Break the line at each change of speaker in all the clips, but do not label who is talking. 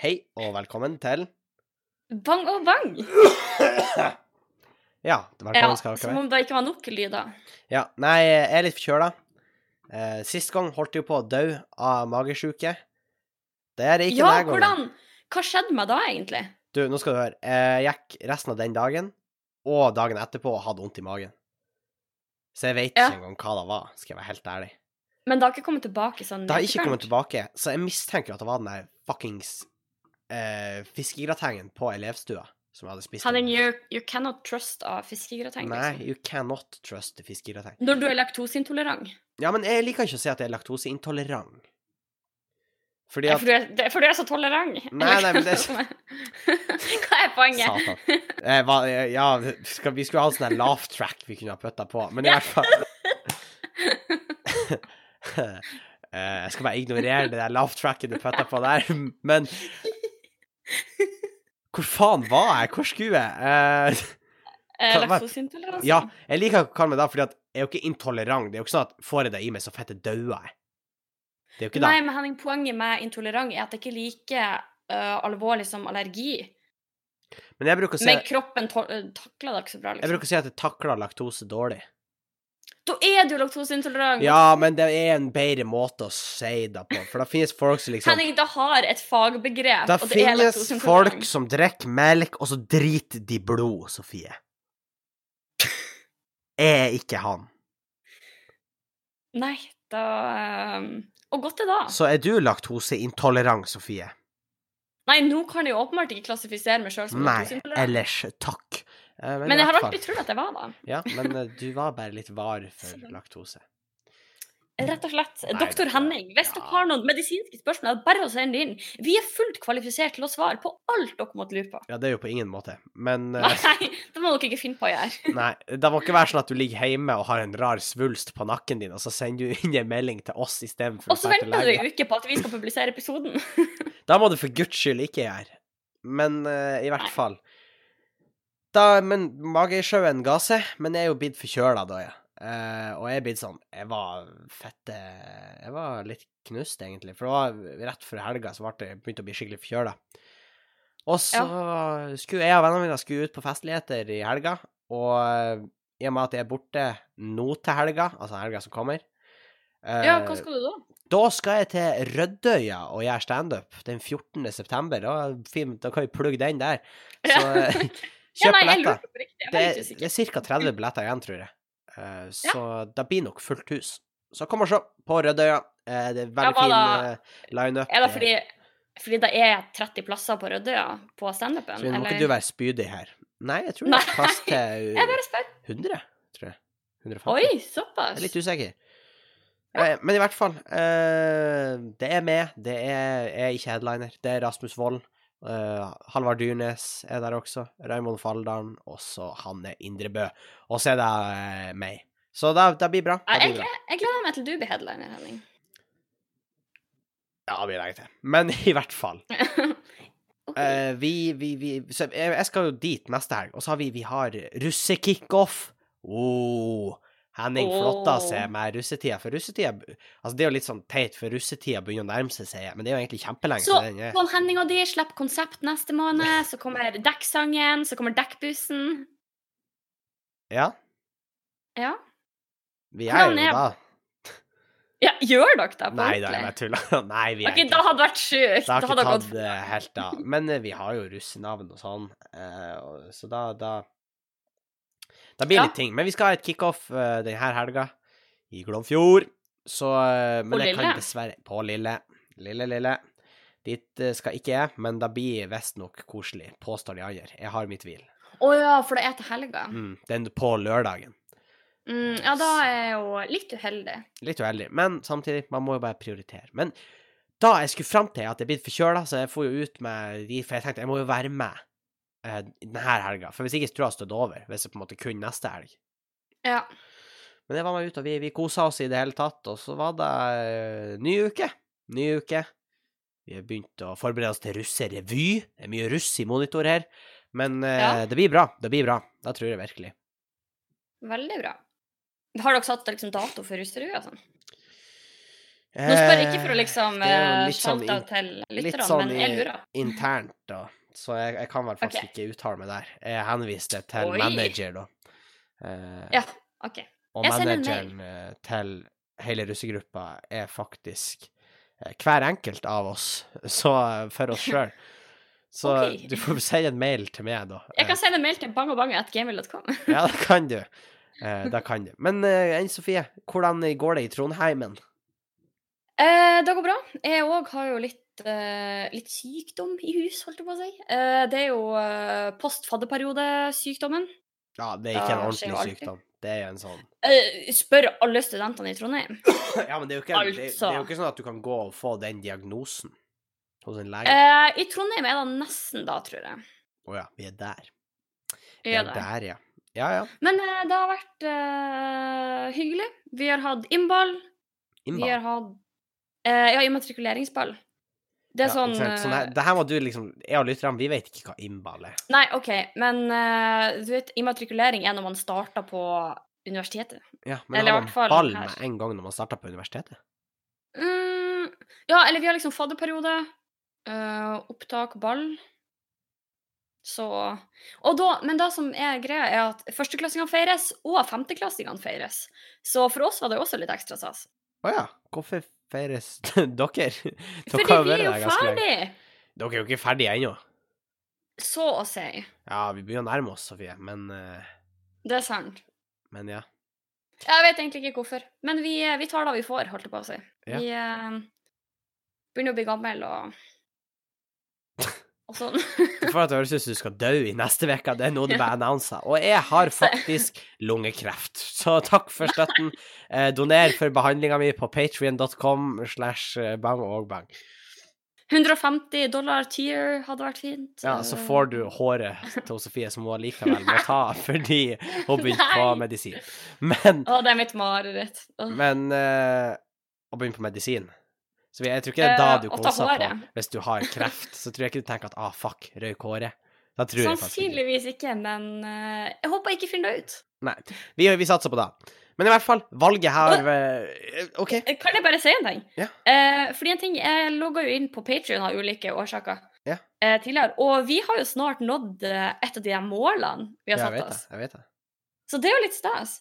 Hei, og velkommen til
Bang og bang!
Ja,
Ja,
velkommen skal dere
som
være.
om det ikke var nok lyder.
Ja, nei, jeg er litt forkjøla. Eh, sist gang holdt jeg jo på å dø av magesjuke. Det er det ikke
Ja,
denne gangen.
hvordan? Hva skjedde meg da, egentlig?
Du, nå skal du høre. Jeg gikk resten av den dagen og dagen etterpå og hadde vondt i magen. Så jeg vet
Ja.
ikke engang hva det var, skal jeg være helt ærlig.
Men det har ikke kommet tilbake sånn
Det har ikke
etterkant.
kommet tilbake, så jeg mistenker at det var den der fuckings eh, fiskegratengen på elevstua som jeg hadde spist.
Henning,
den.
you, you cannot trust av fiskegrateng.
Nei,
Liksom.
you cannot trust the fiskegrateng.
Når du er laktoseintolerant.
Ja, men jeg liker ikke å si at jeg er laktoseintolerant. Fordi
Ja,
at
For, du er- det- for du er så tolerant.
Nei, nei, men det-
Hva er poenget?
Satan. Eh, hva, eh, ja, skal, vi skulle ha en sånn her laugh track vi kunne ha putta på, men i hvert fall Eh, Jeg skal bare ignorere det der laugh tracket du putta på der, men Hvor faen var jeg? Hvor skulle jeg? Eh,
Eh,
Hva- hva-
Laktoseintoleranse?
ja, jeg liker ikke å kalle meg det, fordi at jeg er jo ikke intolerant. Det er jo ikke sånn at får jeg det i meg, så fette dauer jeg. Det er jo ikke det.
Nei, men Henning, poenget med intolerant er at det ikke er like eh, alvorlig som allergi.
Men jeg bruker å si,
Men kroppen to eh, takler det ikke så bra.
jeg
Liksom.
bruker å si at jeg takler laktose dårlig.
Da er du laktoseintolerant!
Ja, men det er en bedre måte å si det på, for det finnes folk som liksom
Henning, det har et fagbegrep.
Det
og det er
finnes
laktoseintolerant.
folk som drikker melk, og så driter de blod, Sofie. Jeg er ikke han.
Nei, da ehm, Og godt det, da.
Så er du laktoseintolerant, Sofie?
Nei, nå kan jeg jo åpenbart ikke klassifisere meg sjøl som
Nei.
laktoseintolerant.
Ellers takk. Eh,
Men
i
jeg har
hvert
alltid
fall-
trodd at jeg var det.
Ja, men eh, du var bare litt var for
Sånn.
laktose.
Rett og slett.
Mm. Nei,
Doktor
det-
Henning, hvis
ja.
dere har noen medisinske spørsmål, er det bare å sende det inn. Vi er fullt kvalifisert til å svare på alt dere måtte lure på.
Ja, det er jo på ingen måte, men eh,
Nei, det må dere ikke finne på å gjøre.
Nei, det må ikke være sånn at du ligger hjemme og har en rar svulst på nakken din, og så sender du inn en melding til oss istedenfor
Og så venter du ei uke på at vi skal publisere episoden.
Da må du for guds skyld ikke gjøre. Men eh, i hvert
Nei.
fall Da, men Magesjøen ga seg, men jeg er jo blitt forkjøla da, ja. Eh, og jeg er blitt sånn Jeg var fette Jeg var litt knust, egentlig. For det var rett før helga så ble det- jeg begynte å bli skikkelig forkjøla. Og så skulle jeg og vennene mine skulle ut på festligheter i helga, og eh, i og med at jeg er borte nå til helga, altså helga som kommer eh,
Ja, hva skal du da?
da skal jeg til Rødøya og gjøre standup den 14. september. Da, fint, da kan vi plugge den der. Så
Ja.
eh,
Ja,
kjøp
nei, jeg
billetter.
lurte på riktig. Jeg
Det
var
er,
litt
det er
usikker.
ca. 30 billetter igjen, tror jeg. Eh, Så det blir nok fullt hus. Så kom og se på Rødøya. Eh, Det er
Ja,
veldig
hva
fin
da?
eh, lineup.
Er det fordi, fordi det er 30 plasser på Rødøya på standupen?
Eh, Så nå må ikke
eller?
du være spydig her. Nei, jeg tror det
Nei.
er plass til
Jeg bare spør.
100, tror jeg. 150.
Oi,
Jeg
såpass.
er litt usikker. Eh, Men i hvert fall, eh, det er meg. Det er, jeg er ikke headliner. Det er Rasmus Wold. eh, Halvard Dyrnes er der også. Raymond Faldalen. Og så Hanne Indrebø. Og så er det eh, meg. Så det, det blir bra.
Ja,
Det
jeg,
blir bra.
jeg gleder meg til du blir headliner, Henning.
Ja, det blir lenge til. Men i hvert fall.
Ok.
Eh, vi, vi, vi så jeg, jeg skal jo dit neste helg, og så har vi, vi har russekickoff. Oh, Henning
Åh.
flotta seg med russetida, for russetida Altså, det er jo litt sånn teit, for russetida begynner å nærme seg, sier jeg, men det er jo egentlig kjempelenge
Så
til den er.
Pål Henning og de slipper konsept neste måned, så kommer dekksangen, så kommer dekkbussen.
Ja,
Ja.
vi er
Hvordan
jo
er-
da
ja gjør dere det? på
Nei da,
ordentlig?
jeg tuller. Nei, vi er
Ok,
ikke
det hadde vært sjukt.
Det har
Det
ikke
hadde
tatt
gått
eh, helt av. Men eh, vi har jo russenavn og sånn, eh, og- så da Da, da blir det
Ja.
litt ting. Men vi skal ha et kickoff eh, denne helga i Glomfjord. Så eh, Men
På
jeg kan
Lille?
dessverre På Lille. Lille, Lille. Dit eh, skal ikke jeg, men det blir visstnok koselig, påstår de andre. Jeg har min tvil.
Å ja, for det er til helga.
Mm, den på lørdagen.
Mm, ja, da er jeg jo litt uheldig.
Litt uheldig, men samtidig, man må jo bare prioritere. Men da jeg skulle fram til at jeg er blitt forkjøla, så jeg for jo ut med de, for jeg tenkte jeg må jo være med eh, denne helga. For hvis ikke så tror jeg jeg stod over, hvis jeg på en måte kun neste helg.
Ja.
Men jeg var med ut, og vi, vi kosa oss i det hele tatt, og så var det eh, ny uke. Ny uke. Vi har begynt å forberede oss til russerevy. Det er mye russ i monitor her. Men eh,
Ja.
det blir bra. Det blir bra. Det tror jeg virkelig.
Veldig bra. Har dere satt liksom, dato for russerevy og sånn? Nå spør jeg ikke for å liksom
Eh, det er jo litt sånn
shout-out til lytterne,
sånn
men jeg
i-
lurer.
internt, da. Så jeg, jeg kan vel faktisk
Ok.
ikke uttale meg der. Jeg henviste til
Oi.
manager, da. Eh,
Ja, OK.
og
jeg sender en
manageren eh, til hele russegruppa er faktisk eh, hver enkelt av oss, så eh, for oss sjøl. Så
Ok.
du får sende en mail til meg, da.
Jeg kan sende en mail til bangogbang.gmail.com.
Eh, Ja, det kan du. Eh, det kan du. Men eh, Enn Sofie, hvordan går det i Trondheimen?
Eh, det går bra. Jeg òg har jo litt, eh, litt sykdom i hus, holdt jeg på å si. Eh, det er jo eh, postfadderperiodesykdommen.
Ja, det er ikke en
Ja, Ah, skjer
ordentlig
jo alltid.
sykdom. Det er jo en sånn
Eh, spør alle studentene i Trondheim.
Ja, men det er, jo ikke, det, det er jo
Altså.
ikke sånn at du kan gå og få den diagnosen hos en lege. Å
Eh, I Trondheim er det nesten da, tror jeg.
ja, vi er der. Vi
Ja,
er
da.
der, ja. Ja ja.
Men eh, det har vært eh, hyggelig. Vi har hatt innball. Vi
Innball.
har hatt eh, Ja, immatrikuleringsball. Det er
Ja,
sånn,
ikke sant? sånn her,
eh,
det her må du liksom Jeg og lytterne, vi vet ikke hva innball er.
Nei, OK, men eh, du vet, immatrikulering er når man starter på universitetet.
Ja, men
Eller i
har man
hvert fall
ball
her.
med en gang når man starter på universitetet?
Mm, ja, eller vi har liksom fadderperiode, eh, opptak, ball. Så og da, Men det som er greia, er at førsteklassingene feires, og femteklassingene feires. Så for oss var det jo også litt ekstra stas.
Å ja. Hvorfor feires dere? Dere
Fordi
har
vi
vært
er jo
der ganske lenge.
ferdig,
Dere er jo ikke ferdige ennå.
så å si.
Ja, vi begynner å nærme oss, Sofie, men, eh,
Det er sant.
men ja.
Jeg vet egentlig ikke hvorfor, men vi, eh, vi tar det vi får, holdt jeg på å si.
Ja.
Vi eh, begynner å bli gammel og, og sånn.
For at det høres ut som du skal dø i neste uke, det er noe du bare annonser. Og jeg har faktisk lungekreft, så takk for støtten. Eh, doner for behandlinga mi på patrion.com slash eh, bang og bang.
150 dollar tier hadde vært fint.
Ja, så
eh.
får du håret til Sofie, som hun allikevel må ta fordi hun begynte på
Nei.
medisin. Men,
Å, det er mitt mareritt. Åh.
men eh, Å begynne på medisin Så jeg tror ikke det er da
Eh,
du
å ta
koser på.
håret.
Hvis du har kreft, så tror jeg ikke du tenker at ah, fuck, røyk håret. Da tror jeg faktisk ikke.
Sannsynligvis ikke, men eh, jeg håper jeg ikke finner det ut.
Vi, vi satser på det. Men i hvert fall, valget her eh, OK.
Eh, Kan jeg bare si en ting?
Ja.
Eh, fordi en ting, Jeg logga jo inn på Patrion av ulike årsaker
Ja.
eh, tidligere, og vi har jo snart nådd eh, et av de her målene vi har
Jeg
satt
vet det.
oss.
jeg vet det.
Så det er jo litt stas.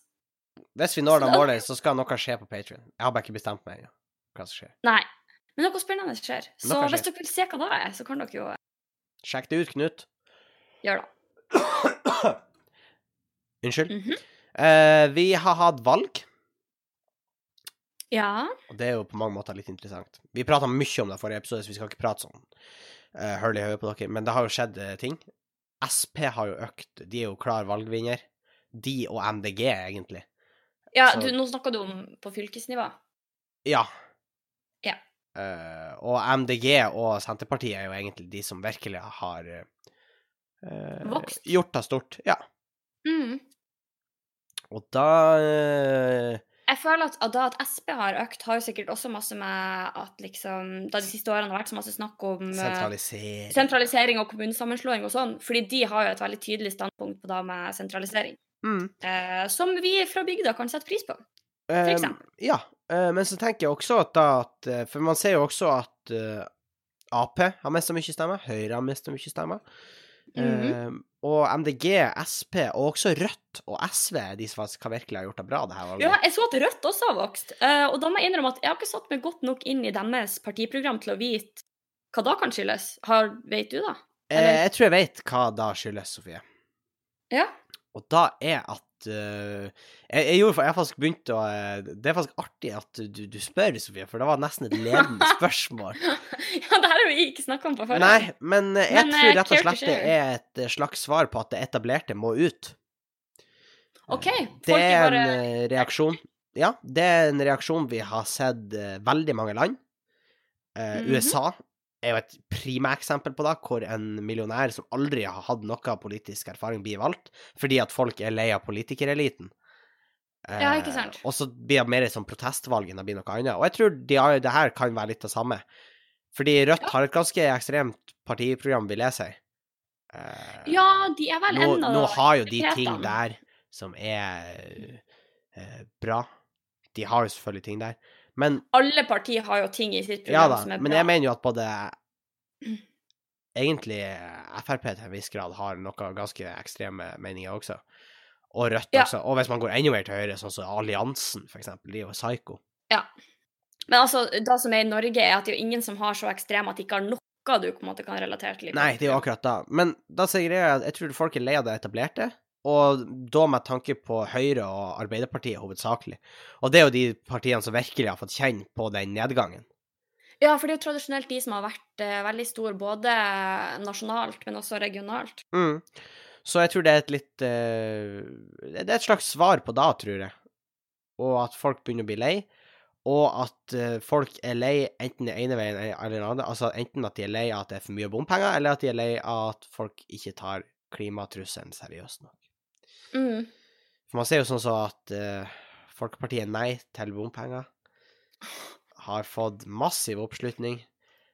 Hvis vi når
Så
det
da-
målet, så skal noe skje på Patrion. Jeg har bare ikke bestemt meg ennå hva som skjer.
Nei. Men noe spennende skjer. Så
Noe skjer.
hvis dere vil se hva det er, så kan dere jo eh,
Sjekk det ut, Knut.
gjøre det.
Unnskyld.
Mhm.
Eh, vi har hatt valg,
Ja.
og det er jo på mange måter litt interessant. Vi prata mye om det forrige episode, så vi skal ikke prate sånn uh, høl i hodet på dere, men det har jo skjedd eh, ting. SP har jo økt, de er jo klar valgvinner. De og MDG, egentlig.
ja
Så-
du, nå snakker du om på fylkesnivå.
Ja.
Ja.
Eh, og MDG og Senterpartiet er jo egentlig de som virkelig har eh,
Vokst.
Gjort det stort, ja.
Mm.
Og da eh,
Jeg føler at at da at SP har økt, har jo sikkert også masse med at liksom Da de siste årene har vært så masse snakk om eh,
Sentralisering.
sentralisering og kommunesammenslåing og sånn, fordi de har jo et veldig tydelig standpunkt på det med sentralisering,
Mm.
eh, som vi fra bygda kan sette pris på, for
Eh,
eksempel.
ja. eh, men så tenker jeg også at da at eh, For man ser jo også at eh, Ap har mista mye stemmer, Høyre har mista mye stemmer.
Mhm.
Eh, og MDG, Sp og også Rødt og SV er de som faktisk har virkelig har gjort det bra det her valget.
Ja, jeg så at Rødt også har vokst, eh, og da må jeg innrømme at jeg har ikke satt meg godt nok inn i deres partiprogram til å vite hva da kan skyldes. Har, vet du, da?
Eh, jeg tror jeg vet hva da skyldes, Sofie.
Ja.
Og da er at eh, jeg, jeg, gjorde, fa- jeg har faktisk begynt å eh, Det er faktisk artig at du, du spør, Sofie, for det var nesten et ledende spørsmål.
ja, det her har vi ikke snakka om på forhånd.
Nei, men eh, jeg
Men, eh,
tror rett og
care to
slett det
share.
er et eh, slags svar på at det etablerte må ut.
OK.
Eh,
Folk
Det er
er
en
bare
eh, reaksjon Ja, det er en reaksjon vi har sett eh, veldig mange land. Eh,
Mhm.
USA er jo et primeksempel på det, hvor en millionær som aldri har hatt noe politisk erfaring, blir valgt fordi at folk er lei av politikereliten. Eh,
Ja, ikke sant.
Og så blir det mer et sånn protestvalg enn det blir noe annet. Og jeg tror de, har- det her kan være litt det samme. Fordi Rødt har et ganske ekstremt partiprogram, vil jeg si. Eh,
Ja, de er vel
nå,
en av
nå har jo de ting
aktivitetene.
der som er eh, bra. De har jo selvfølgelig ting der. Men
Alle partier har jo ting i sitt program
ja da,
som er
men
bra.
jeg mener jo at både Egentlig eh, Frp til en viss grad har noen ganske ekstreme meninger også. Og Rødt
Ja.
også. Og hvis man går enda mer til høyre, sånn som Alliansen, for eksempel, de er jo psyko.
Men altså, det som er i Norge, er at det er jo ingen som har så ekstreme at de ikke har noe du på en måte kan relatere til. liksom. i
Nei, det er jo akkurat da. Men da sier jeg at jeg tror folk er lei av det etablerte, og da med tanke på Høyre og Arbeiderpartiet hovedsakelig. Og det er jo de partiene som virkelig har fått kjenne på den nedgangen.
Ja, for det er jo tradisjonelt de som har vært eh, veldig stor både nasjonalt, men også regionalt.
Mm. Så jeg tror det er et litt eh, Det er et slags svar på da, tror jeg. Og at folk begynner å bli lei. Og at eh, folk er lei enten den ene veien eller den andre. Altså enten at de er lei av at det er for mye bompenger, eller at de er lei av at folk ikke tar klimatrusselen seriøst nok.
Mm.
For man ser jo sånn så at eh, Folkepartiet Nei til bompenger har fått massiv oppslutning,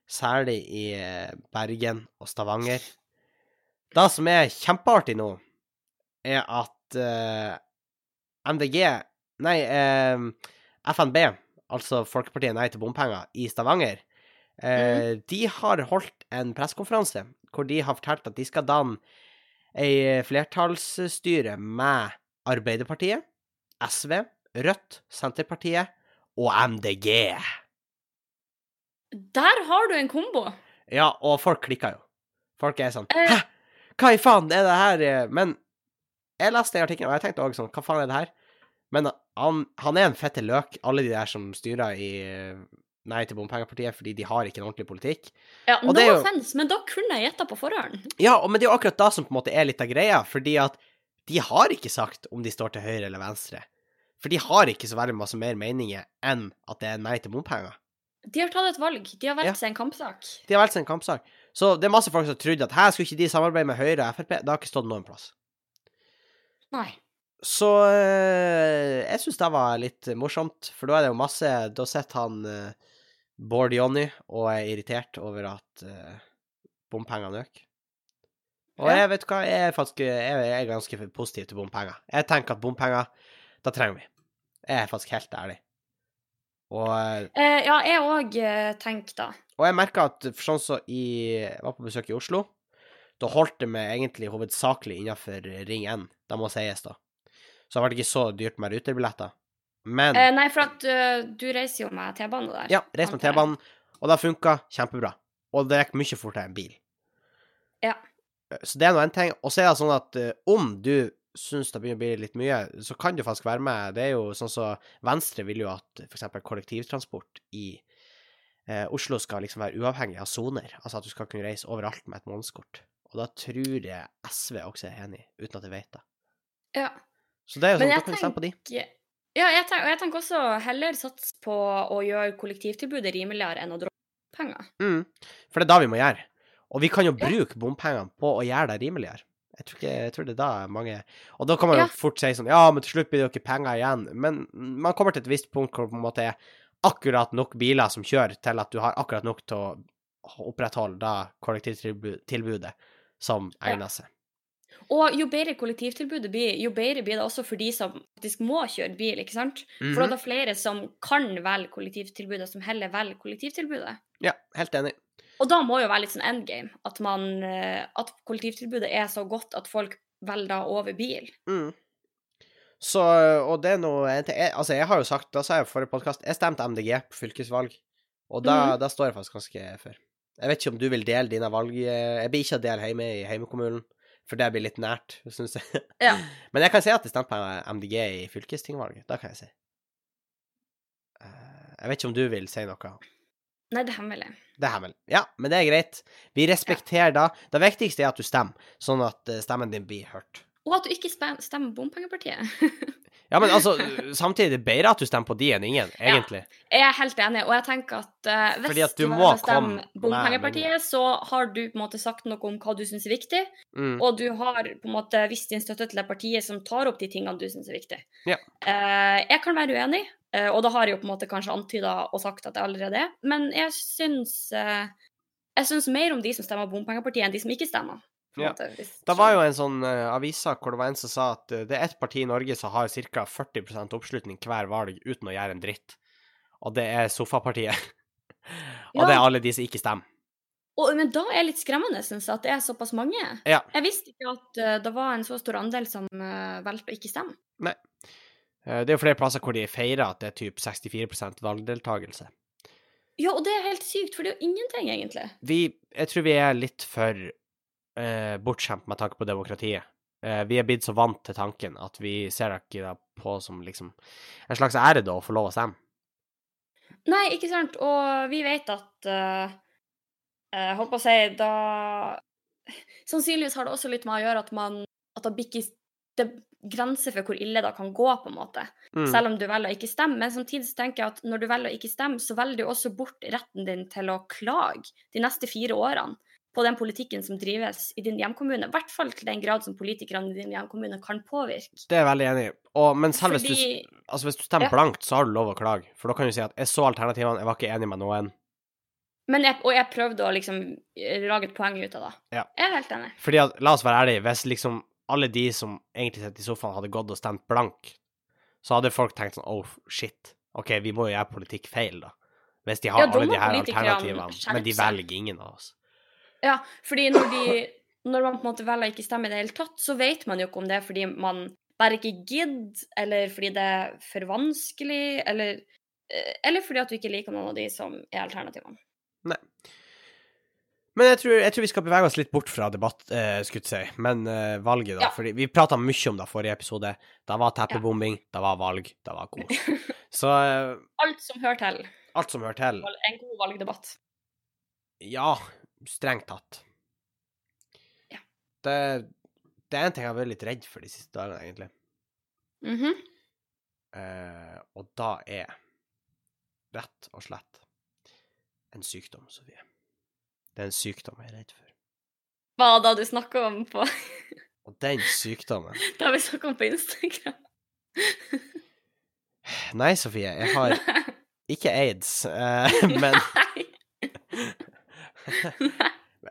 særlig i eh, Bergen og Stavanger. Det som er kjempeartig nå, er at eh, MDG Nei, eh, FNB, altså Folkepartiet Nei til bompenger i Stavanger, eh, de har holdt en pressekonferanse hvor de har fortalt at de skal danne ei flertallsstyre med Arbeiderpartiet, SV, Rødt, Senterpartiet og MDG.
Der har du en kombo!
Ja, og folk klikker jo. Folk er sånn
Eh.
Hæ? Hva i faen er det her? eh?» Men jeg leste den artikkelen, og jeg tenkte også sånn Hva faen er det her? Men han, han er en fette løk, alle de der som styrer i eh, Nei til bompengepartiet, fordi de har ikke en ordentlig politikk.
Ja,
Og
no
det er jo-
offense, men da kunne jeg gjetta på forhånd.
Ja, og- men det er jo akkurat da som på en måte er litt av greia, fordi at de har ikke sagt om de står til høyre eller venstre. For de har ikke så veldig masse mer meninger enn at det er nei til bompenger.
De har tatt et valg. De har
Ja.
valgt seg en kampsak.
De har valgt seg en kampsak. Så det er masse folk som trodde at her skulle ikke de samarbeide med Høyre og Frp. Det har ikke stått noen plass.
Nei.
Så eh, jeg syns det var litt morsomt, for da er det jo masse Da sitter han eh, Bård Jonny og er irritert over at eh, bompengene øker. Og
Ja.
jeg vet hva, jeg er faktisk jeg er ganske positiv til bompenger. Jeg tenker at bompenger, da trenger vi. Jeg er faktisk helt ærlig. Og eh,
Eh, ja, jeg òg eh, tenkte da.
Og jeg merka at for sånn som i Jeg var på besøk i Oslo. Da holdt det meg egentlig hovedsakelig innafor Ring N, det må sies, da. Så det ble ikke så dyrt med ruterbilletter. Men
Eh, nei, for at eh, du reiser jo med T-bane der.
ja, reis med
antar jeg.
T-banen, og det funka kjempebra. Og det gikk mye fortere enn bil. Eh,
Ja.
Så det er nå en ting. Og så er det sånn at eh, om du syns det begynner å bli litt mye, så kan du faktisk være med. Det er jo sånn som Venstre vil jo at f.eks. kollektivtransport i eh, Oslo skal liksom være uavhengig av soner. Altså at du skal kunne reise overalt med et månedskort. Og da tror jeg SV også er enig, uten at jeg vet det.
Ja.
Så det er jo
Men
sånn,
jeg
da kan du stemme på de.
Ikke- Ja, jeg tenker, og jeg tenker også heller satse på å gjøre kollektivtilbudet rimeligere enn å droppe penger.
Mm. For det er da vi må gjøre. Og vi kan jo
Ja.
bruke bompengene på å gjøre det rimeligere. Jeg tror, ikke, jeg tror det er da mange Og da kan man jo
Ja.
fort si sånn Ja, men til slutt blir det jo ikke penger igjen. Men man kommer til et visst punkt hvor det på en måte er akkurat nok biler som kjører, til at du har akkurat nok til å opprettholde da kollektivtilbudet som
Ja.
egner seg.
Og jo bedre kollektivtilbudet blir, jo bedre blir det også for de som faktisk må kjøre bil, ikke sant? For da er
Mhm.
det flere som kan velge kollektivtilbudet, som heller velger kollektivtilbudet.
Ja, helt enig.
Og da må jo være litt sånn endgame, at, man, eh, at kollektivtilbudet er så godt at folk velger da over bil.
Mm. Så, og det er noe jeg, jeg, Altså, jeg har jo sagt, da sa jeg i forrige podkast, jeg stemte MDG på fylkesvalg, og da, da står jeg faktisk ganske for. Jeg vet ikke om du vil dele dine valg eh, Jeg blir ikke å dele hjemme i heimekommunen, for det blir litt nært, syns jeg.
Ja.
Men jeg kan si at jeg stemte på MDG i fylkestingvalget. Det kan jeg si. Eh, Jeg vet ikke om du vil si noe
Nei, det er hemmelig.
det er hemmelig. Ja, men det er greit. Vi respekterer da. Det viktigste er at du stemmer, sånn at eh, stemmen din blir hørt.
Og at du ikke spe- stemmer Bompengepartiet.
Ja, men altså, samtidig er det bedre at du stemmer på de enn ingen, egentlig.
Jeg er helt enig, og jeg tenker at eh, hvis
Fordi at du
velger
må
å stemme
komme med
Bompengepartiet, så har du på en måte sagt noe om hva du syns er viktig,
Mm.
og du har på en måte vist din støtte til det partiet som tar opp de tingene du syns er viktig.
Ja.
Eh, jeg kan være uenig, eh, og da har jeg jo på en måte kanskje antyda og sagt at jeg allerede er, men jeg syns eh, jeg syns mer om de som stemmer Bompengepartiet, enn de som ikke stemmer. på en
Ja.
måte, hvis-
Det var jo en sånn uh, avisa hvor det var en som sa at eh, det er ett parti i Norge som har ca. 40 oppslutning hver valg uten å gjøre en dritt. og det er sofapartiet. og
Ja.
det er alle de som ikke stemmer.
Og, men da er det litt skremmende, syns jeg, at det er såpass mange.
Ja.
Jeg visste ikke at eh, det var en så stor andel som eh, valgte å ikke stemme.
Eh, Det er jo flere plasser hvor de feirer at det er typ 64 valgdeltakelse.
Ja, og det er helt sykt, for det er jo ingenting, egentlig.
Vi, jeg tror vi er litt for eh, bortskjemt med tanke på demokratiet. Eh, vi er blitt så vant til tanken at vi ser ikke det på som liksom en slags ære da å få lov å stemme.
Nei, ikke sant. Og vi vet at eh, eh, Holdt på å si, da Sannsynligvis har det også litt med å gjøre at man At det bikker det er grenser for hvor ille det kan gå, på en måte.
Mm.
Selv om du velger å ikke stemme. Men samtidig så tenker jeg at når du velger å ikke stemme, så velger du også bort retten din til å klage de neste fire årene på den politikken som drives i din hjemkommune. I hvert fall til den grad som politikerne i din hjemkommune kan påvirke.
Det er jeg veldig enig i. Og, men selv hvis,
Fordi-
du, altså hvis du stemmer
Ja.
blankt, så har du lov å klage. For da kan du si at 'jeg så alternativene, jeg var ikke enig med noen'.
Men jeg, og jeg prøvde å liksom eh, lage et poeng ut av det.
Ja.
Jeg er helt enig.
Fordi at, la oss være ærlige, hvis liksom alle de som egentlig sitter i sofaen hadde gått og stemt blank, så hadde folk tenkt sånn oh shit, ok, vi må jo gjøre politikk feil da. Hvis de har
Ja, da må
alle de her
politikerne
alternativene, men de
skjerpe seg.
velger ingen av oss.
Ja, fordi når, de, når man på en måte velger å ikke stemme i det hele tatt, så vet man jo ikke om det er fordi man bare ikke gidder, eller fordi det er for vanskelig, eller, eh, eller fordi at du ikke liker noen av de som er alternativene.
Men jeg tror, jeg tror vi skal bevege oss litt bort fra debatt, eh, skulle jeg si, men eh, valget, da.
Ja.
Fordi vi prata mye om det forrige episode. Da var teppebombing, da var valg, da var kos. Så eh,
Alt som hører til
alt som hører til.
val- en god valgdebatt.
Ja, strengt tatt.
Ja.
Det, det er en ting jeg har vært litt redd for de siste dagene, egentlig.
Mhm.
Eh, og da er rett og slett en sykdom, Sofie. Det er en sykdom jeg er redd for.
Hva da du snakket om på
Og den sykdommen
Da vi snakket om på Instagram?
Nei, Sofie, jeg har ikke aids, eh, men
Nei.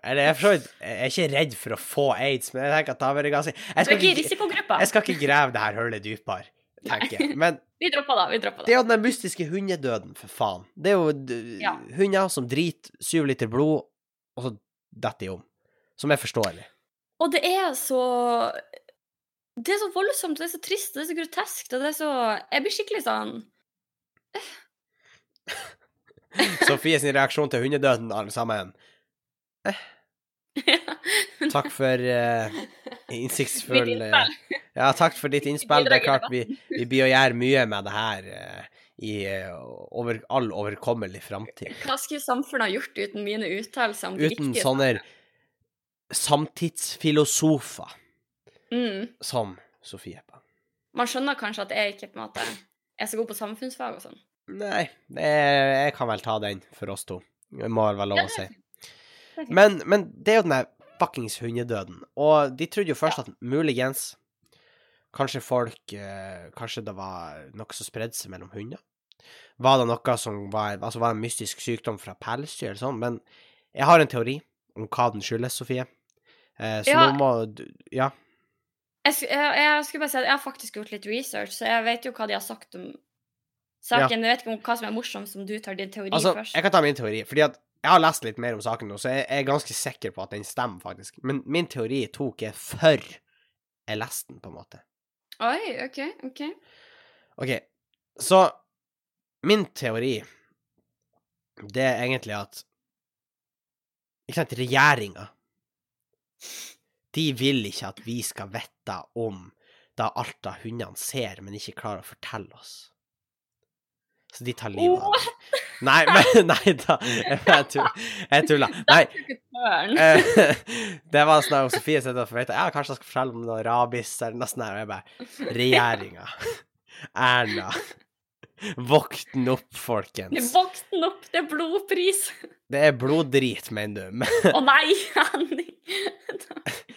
Eller jeg er for så vidt Jeg er ikke redd for å få aids, men jeg tenker at da blir det ganske jeg
Du er
skal,
ikke i
ikke,
risikogruppa.
jeg skal ikke grave det her hullet dypere, tenker jeg. Men
Vi droppa det. Vi droppa
Det
det.
er jo den mystiske hundedøden, for faen. Det er jo d-
Ja.
hunder som driter syv liter blod, og så detter de om. Som er forståelig.
Og det er så Det er så voldsomt, det er så trist, det er så grotesk, og det er så Jeg blir skikkelig sånn
Sofie sin reaksjon til hundedøden, alle sammen. Eh. Takk for eh, innsiktsfull
Mitt innspill.
eh, Ja, takk for ditt innspill. Det er
Bidrag i
klart vi, vi blir å gjøre mye med det her eh, i eh, over, all overkommelig framtid.
Hva skulle samfunnet ha gjort uten mine uttalelser om de
Uten
viktige
sånne samtidsfilosofer
mm.
som Sofie er på.
Man skjønner kanskje at jeg ikke på en måte er så god på samfunnsfag og sånn.
Nei, jeg, jeg kan vel ta den for oss to. Det må vel være lov
Ja,
å
det
si.
er fint.
Men, men det er jo den der fuckings hundedøden. Og de trodde jo først at muligens Kanskje folk eh, Kanskje det var noe som spredde seg mellom hunder? Var det noe som var Altså var det en mystisk sykdom fra pelsdyr eller sånn? Men jeg har en teori om hva den skyldes, Sofie. Eh, så
Ja.
nå må du Ja.
Jeg, sk- jeg, jeg skulle bare si at jeg har faktisk gjort litt research, så jeg vet jo hva de har sagt om saken. Jeg vet ikke om hva som er morsomt, om du tar din teori
Altså,
først.
jeg kan ta min teori, fordi at jeg har lest litt mer om saken nå, så jeg, jeg er ganske sikker på at den stemmer, faktisk. Men min teori tok jeg før jeg leste den, på en måte.
Oi, OK. ok.
OK, så min teori, det er egentlig at Ikke sant, regjeringa De vil ikke at vi skal vite om da alt da hundene ser, men ikke klarer å fortelle oss. Så de tar livet av dem. Nei, men Nei da. Jeg tull- jeg tuller. Nei,
Turn.
Eh, det var sånn at Sofie sitter og forventer Ja, kanskje jeg skal fortelle om noe rabis eller noe sånt. der, Og jeg bare Regjeringa. Erna. Våkn opp, folkens.
Voksen opp, det er blodpris!
Det er bloddrit, mener du. Men
Å nei, Annie!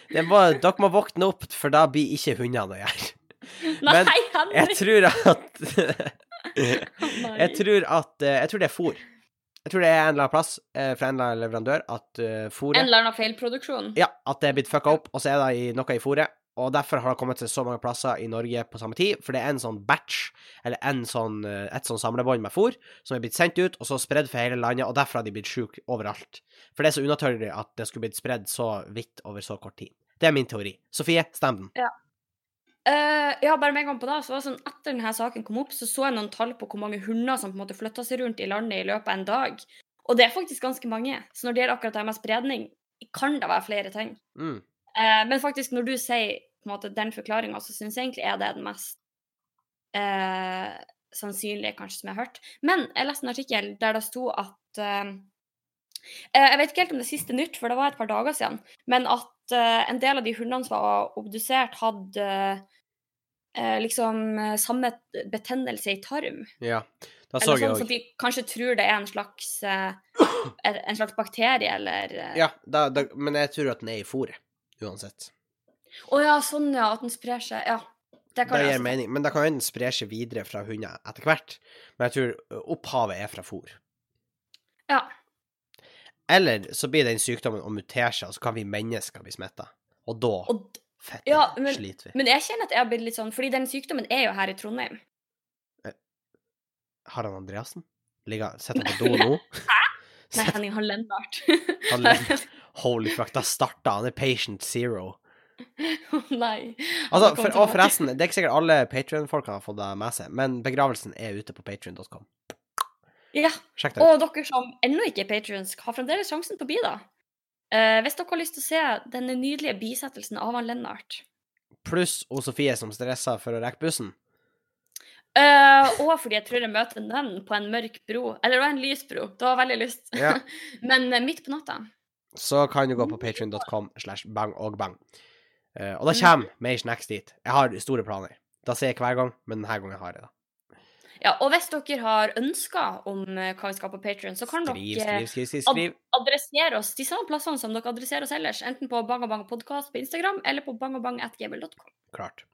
det må, dere må våkne opp, for da blir ikke hundene å gjøre.
Nei,
Men Jeg
Henrik!
tror at
Nei.
Jeg tror at eh, Jeg tror det er fôr. Jeg tror det er en eller annen plass eh, fra en eller annen leverandør at uh,
En
fôret
eller annen feilproduksjon.
Ja, at det er blitt fucka opp, og så er det i, noe i fôret, og derfor har det kommet til så mange plasser i Norge på samme tid. For det er en sånn batch, eller en sånn, eh, et sånn samlebånd med fôr, som er blitt sendt ut, og så spredd for hele landet, og derfor har de blitt sjuke overalt. For det er så unaturlig at det skulle blitt spredd så vidt over så kort tid. Det er min teori. Sofie, stem den.
Eh, ja, bare med en gang på da, så var det sånn Etter denne saken kom opp, så så jeg noen tall på hvor mange hunder som på en måte flytta seg rundt i landet i løpet av en dag. Og det er faktisk ganske mange. Så når det gjelder akkurat det her med spredning, kan det være flere ting.
Mm.
Eh, men faktisk, når du sier på en måte, den forklaringa, så syns jeg egentlig er det den mest eh, sannsynlige, kanskje, som jeg har hørt. Men jeg leste en artikkel der det sto at eh, eh, Jeg vet ikke helt om det siste nytt, for det var et par dager siden, men at eh, en del av de hundene som var obdusert, hadde eh, liksom eh, samme betennelse i tarm.
Ja. Da så
Eller
jeg
sånn, så
òg.
de kanskje tror det er en slags, eh, en en slags bakterie, eller eh,
Ja, da, da, men jeg tror at den er i fôret, uansett.
Å ja, sånn ja, at den sprer seg. Ja. Det kan
Det
jeg
gir
også tenke.
mening. Men da kan jo den spre seg videre fra hunder etter hvert. Men jeg tror ø, opphavet er fra fôr.
Ja.
Eller så blir den sykdommen å mutere seg, og så kan vi mennesker bli smitta. Og da
Og, d-
fette,
ja, men-
sliter vi.
men jeg kjenner at jeg har blitt litt sånn, fordi den sykdommen er jo her i Trondheim.
Har han Andreassen? Ligger Sitter han på do nå?
Nei,
Sitter
Henning, han Lennart.
han ligger- Holy fuck, da starta han. Det er patient zero.
Nei.
Altså,
Han kom
for, og
tilbake.
forresten, det er ikke sikkert alle Patrion-folkene har fått det med seg, men begravelsen er ute på patrion.com.
Ja,
Sjekk det ut.
og dere som ennå ikke er patrions, har fremdeles sjansen på å bli da. Eh, hvis dere har lyst til å se den nydelige bisettelsen av han Lennart,
Pluss O. Sofie som stressa for å rekke bussen.
eh, og fordi jeg tror jeg møter en venn på en mørk bro, eller det var en lys bro, det var veldig lyst,
Ja.
men eh, midt på natta.
så kan du gå på patreon.com slash bang og bang. Eh, og da kommer mer snacks dit. Jeg har store planer. Da sier jeg hver gang, men denne gangen har jeg det.
Ja, og hvis dere har ønsker om eh, hva vi skal ha på Patreon, så kan
Skriv,
dere
skriv, skriv, skriv. skriv.
adressere oss de samme plassene som dere adresserer oss ellers, enten på bangabangpodkast på Instagram eller på bangabang.gmail.com.
Klart.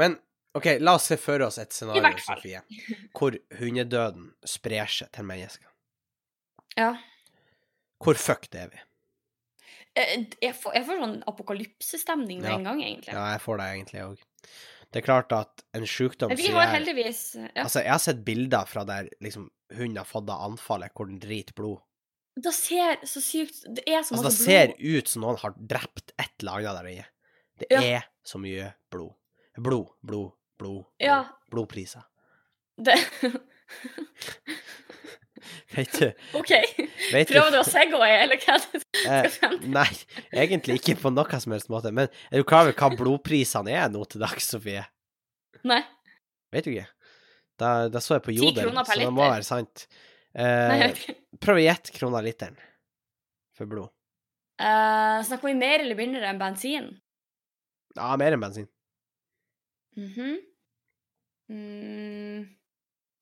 Men OK, la oss se for oss et
I
scenario,
hvert fall.
Sofie, hvor hundedøden sprer seg til mennesker.
Ja.
Hvor fucked er vi?
Eh, Jeg får, jeg får sånn apokalypsestemning med
Ja.
en gang, egentlig.
Ja, jeg får det egentlig òg. Det er klart at en sjukdom
Men vi
sier
har heldigvis ja.
Altså, jeg har sett bilder fra der liksom hunden har fått av anfallet, hvor den driter blod.
Det ser så sykt Det er så
Altså,
masse
det ser ut som noen har drept et eller annet der inne. Det
Ja.
er så mye blod. Blod, blod, blod. blod.
Ja.
Blodpriser.
Det,
Vet du,
OK.
vet
Prøver du
du
å segway, eller hva det
eh,
skal frem til?
Nei, egentlig ikke på noen som helst måte. Men er du klar over hva blodprisene er nå til dags, Sofie?
Nei.
Vet du ikke? Da, da så jeg på
Ti
Jodel,
kroner per
så det må
liter.
være sant.
Nei, jeg
Eh,
vet ikke.
prøv å gjette kroner literen for blod.
Eh, snakker vi mer eller mindre enn bensin?
Ja, mer enn bensin.
Mhm. mm,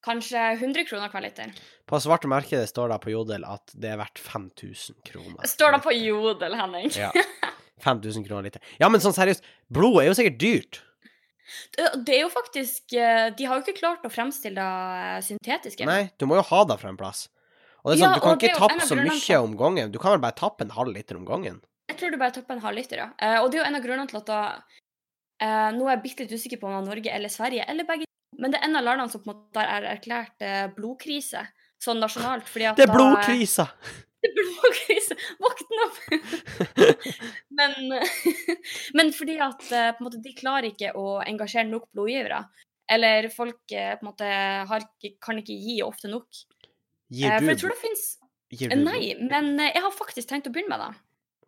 kanskje 100 kroner hver liter.
På svarte markedet står det på Jodel at det er verdt 5000 kroner.
Står det på Jodel, Henning?
Ja. 5000 kroner liter. Ja, men sånn seriøst, blod er jo sikkert dyrt.
Det det er jo faktisk eh, De har jo ikke klart å fremstille det eh, syntetiske.
Nei, du må jo ha det fra en plass. Og det er
Ja,
sånn, du kan
og
ikke
det er jo en
tappe
av
så
grunnene
mye
til-
om gangen. Du kan vel bare tappe en halv liter om gangen.
Jeg tror du bare topper en halv liter, ja. Eh, og det er jo en av grunnene til at da eh, Nå er jeg bitte litt usikker på om det er Norge eller Sverige, eller begge men det er en av landene som på en måte har erklært eh, blodkrise, sånn nasjonalt. Fordi at
Det er
da-
blodkrisa!
Det er blodkrise! Våkne opp! men, men fordi at eh, på en måte, de klarer ikke å engasjere nok blodgivere. Eller folk eh, på en måte, har, ikke- kan ikke gi ofte nok. Eh,
Gir
for
du,
jeg tror det fins
gir du
Nei, men eh, jeg har faktisk tenkt å begynne med det.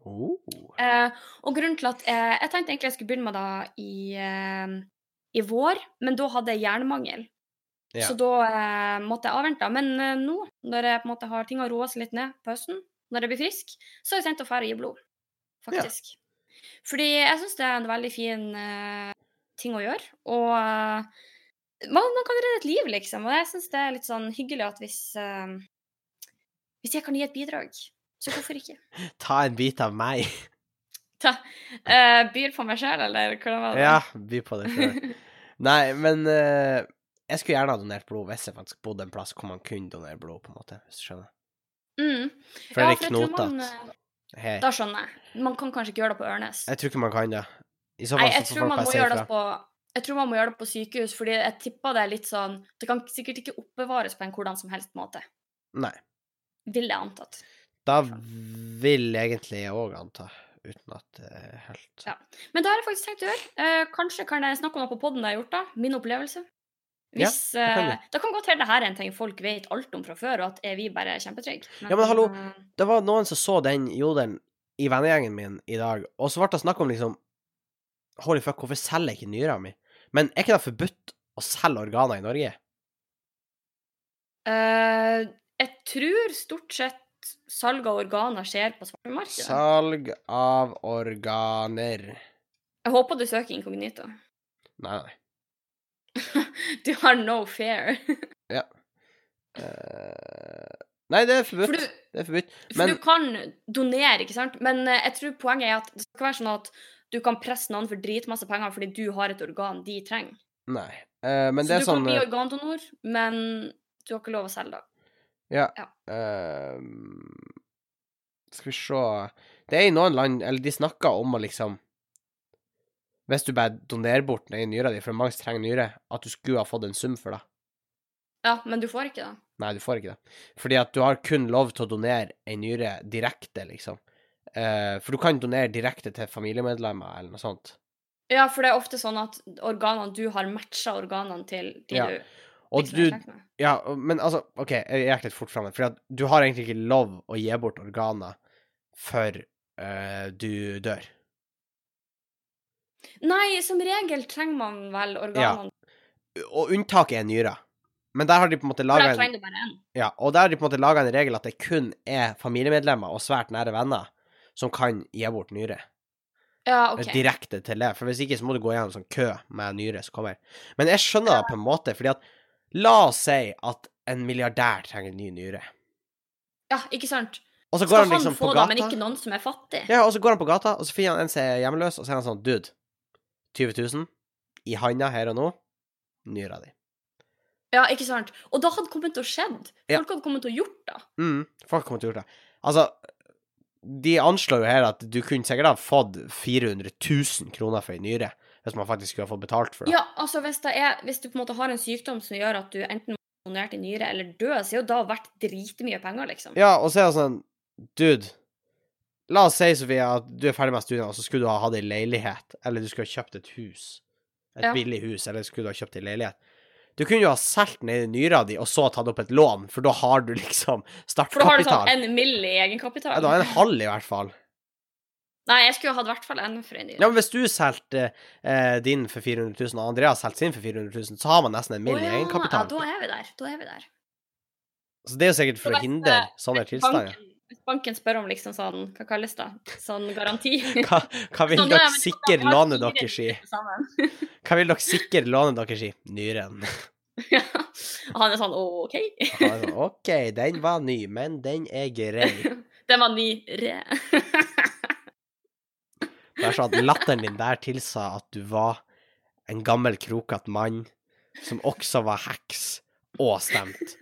blod? Oh.
Eh, og grunnen til at eh, Jeg tenkte egentlig jeg skulle begynne med det i, eh, i vår, men da hadde jeg jernmangel.
Ja.
Så da eh, måtte jeg avvente. Men eh, nå, når jeg på en måte har ting har roa seg litt ned på høsten, når jeg blir frisk, så har jeg tenkt å dra og gi blod. Faktisk. Fordi jeg syns det er en veldig fin eh, ting å gjøre. Og eh, man, man kan redde et liv, liksom. Og jeg syns det er litt sånn hyggelig at hvis eh, Hvis jeg kan gi et bidrag, så hvorfor ikke?
Ta en bit av meg.
Eh, byr på meg sjøl, eller hvordan var det?
Ja, by på det sjøl. Nei, men eh, jeg skulle gjerne ha donert blod hvis jeg faktisk bodde en plass hvor man kunne donere blod, på en måte, hvis du skjønner.
Mm.
For
Ja,
det er
jeg tror man,
knotete.
eh,
Hei.
Da skjønner jeg. Man kan kanskje ikke gjøre det på Ørnes.
Jeg tror ikke man kan det. I så
Nei,
fall så
jeg
får
tror,
folk
man
bare
må
si
gjøre det
ifra.
på, jeg tror man må gjøre det på sykehus, fordi jeg tipper det er litt sånn Det kan sikkert ikke oppbevares på en hvordan som helst måte.
Nei.
Vil jeg antatt.
Da vil egentlig jeg òg anta, uten at det er helt
Ja. Men det har jeg faktisk tenkt å gjøre. Eh, kanskje kan jeg snakke om noe på poden jeg har gjort, da. Min opplevelse.
Ja,
Hvis,
det kan
eh,
du.
det kan godt hende det her er en ting folk vet alt om fra før, og at er vi bare kjempetrygge.
Ja, men hallo,
eh,
Det var noen som så den jodelen i vennegjengen min i dag, og så ble det snakk om liksom Holy fuck, hvorfor selger jeg ikke nyra mi? Men er ikke det forbudt å selge organer i Norge?
eh, jeg tror stort sett salg av organer skjer på svartemarkedet.
Salg av organer
Jeg håper du søker inkognito.
Nei, nei.
Du har no fair.
Eh, nei, det er
For
forbudt.
du,
Det er forbudt.
For
Men
du kan donere, ikke sant? Men eh, jeg tror poenget er at det skal ikke være sånn at du kan presse noen for dritmasse penger fordi du har et organ de trenger.
Nei. eh, men
Så
det er
du
sånn
kan bli
eh,
organdonor, men du har ikke lov å selge det.
Ehm, Skal vi se Det er i noen land Eller de snakker om å liksom Hvis du bare donerer bort den ene nyra di, for mange som trenger nyre, at du skulle ha fått en sum for det.
Ja, men du får ikke det.
Nei, du får ikke det. Fordi at du har kun lov til å donere ei nyre direkte, liksom. Eh, for du kan donere direkte til familiemedlemmer eller noe sånt.
Ja, for det er ofte sånn at organene du har, matcha organene til de
Ja,
du
Og
liksom er
du
i slekt med.
Ja, og- men altså, OK, jeg gikk litt fort fram her. For du har egentlig ikke lov å gi bort organer før eh, du dør.
Nei, som regel trenger man vel organene.
og unntaket er nyra. Men der har de på en måte
for
laga
der
en,
trenger du bare én.
ja, og der har de på en måte laget en regel at det kun er familiemedlemmer og svært nære venner som kan gi bort nyre. Eh,
Ja, OK.
Direkte til det. For hvis ikke så må du gå gjennom sånn kø med nyre som kommer. Men jeg skjønner det på en måte, fordi at La oss si at en milliardær trenger en ny nyre.
Ja, ikke sant?
Og så går
Skal
han
han
liksom på
få det, men
gata.
ikke noen som er fattig?
Ja, og så går han på gata, og så finner han en som er hjemløs, og så er han sånn Dude, 20 000 i handa her og nå. Nyra di.
Ja, ikke sant? Og da hadde det kommet til å skjedd.
Ja.
Folk hadde kommet til å gjort det.
Mm, folk kommer til å gjøre det. Altså, de anslår jo her at du kunne sikkert ha fått 400 000 kroner for ei nyre, hvis man faktisk skulle ha fått betalt for det.
Ja, altså hvis, det er, hvis du på en måte har en sykdom som gjør at du enten må bli donert i nyre eller dø, så er jo da verdt dritmye penger, liksom.
Ja, og så er det sånn, dude, la oss si, Sofia, at du er ferdig med studiene, og så skulle du ha hatt ei leilighet, eller du skulle ha kjøpt et hus, et
Ja.
billig hus, eller skulle du ha kjøpt ei leilighet. Du kunne jo ha solgt ned i nyra di, og så tatt opp et lån, for da har du liksom
For da har du
startkapital.
sånn en mill. i egenkapital.
Ja, du har en halv, i hvert fall.
Nei, jeg skulle hatt i hvert fall en for en
Ja,
nyre.
men hvis du solgte eh, din for 400 000, og Andreas solgte sin for 400 000, så har man nesten en mill.
Å
i
ja,
egenkapital.
Ja, da er vi der. Da er vi der.
Så det er jo sikkert for
Så
å
hvis,
hindre
eh,
sånne
Hvis
tilstander.
banken, hvis banken spør om liksom sånn, hva kalles det, sånn garanti
Hva, hva vil
Sånn, nei,
dere
men det-
sikkert
vi har
låne
fire
dere i?
sammen.
Hva vil dere sikkert låne dere i? Nyren.
Ja. Og han er sånn, å, ok.
Og han er sånn, OK, den var ny, men den er grei.
Den var ny re.
Det er sånn at latteren din der tilsa at du var en gammel, krokete mann som også var heks og stemt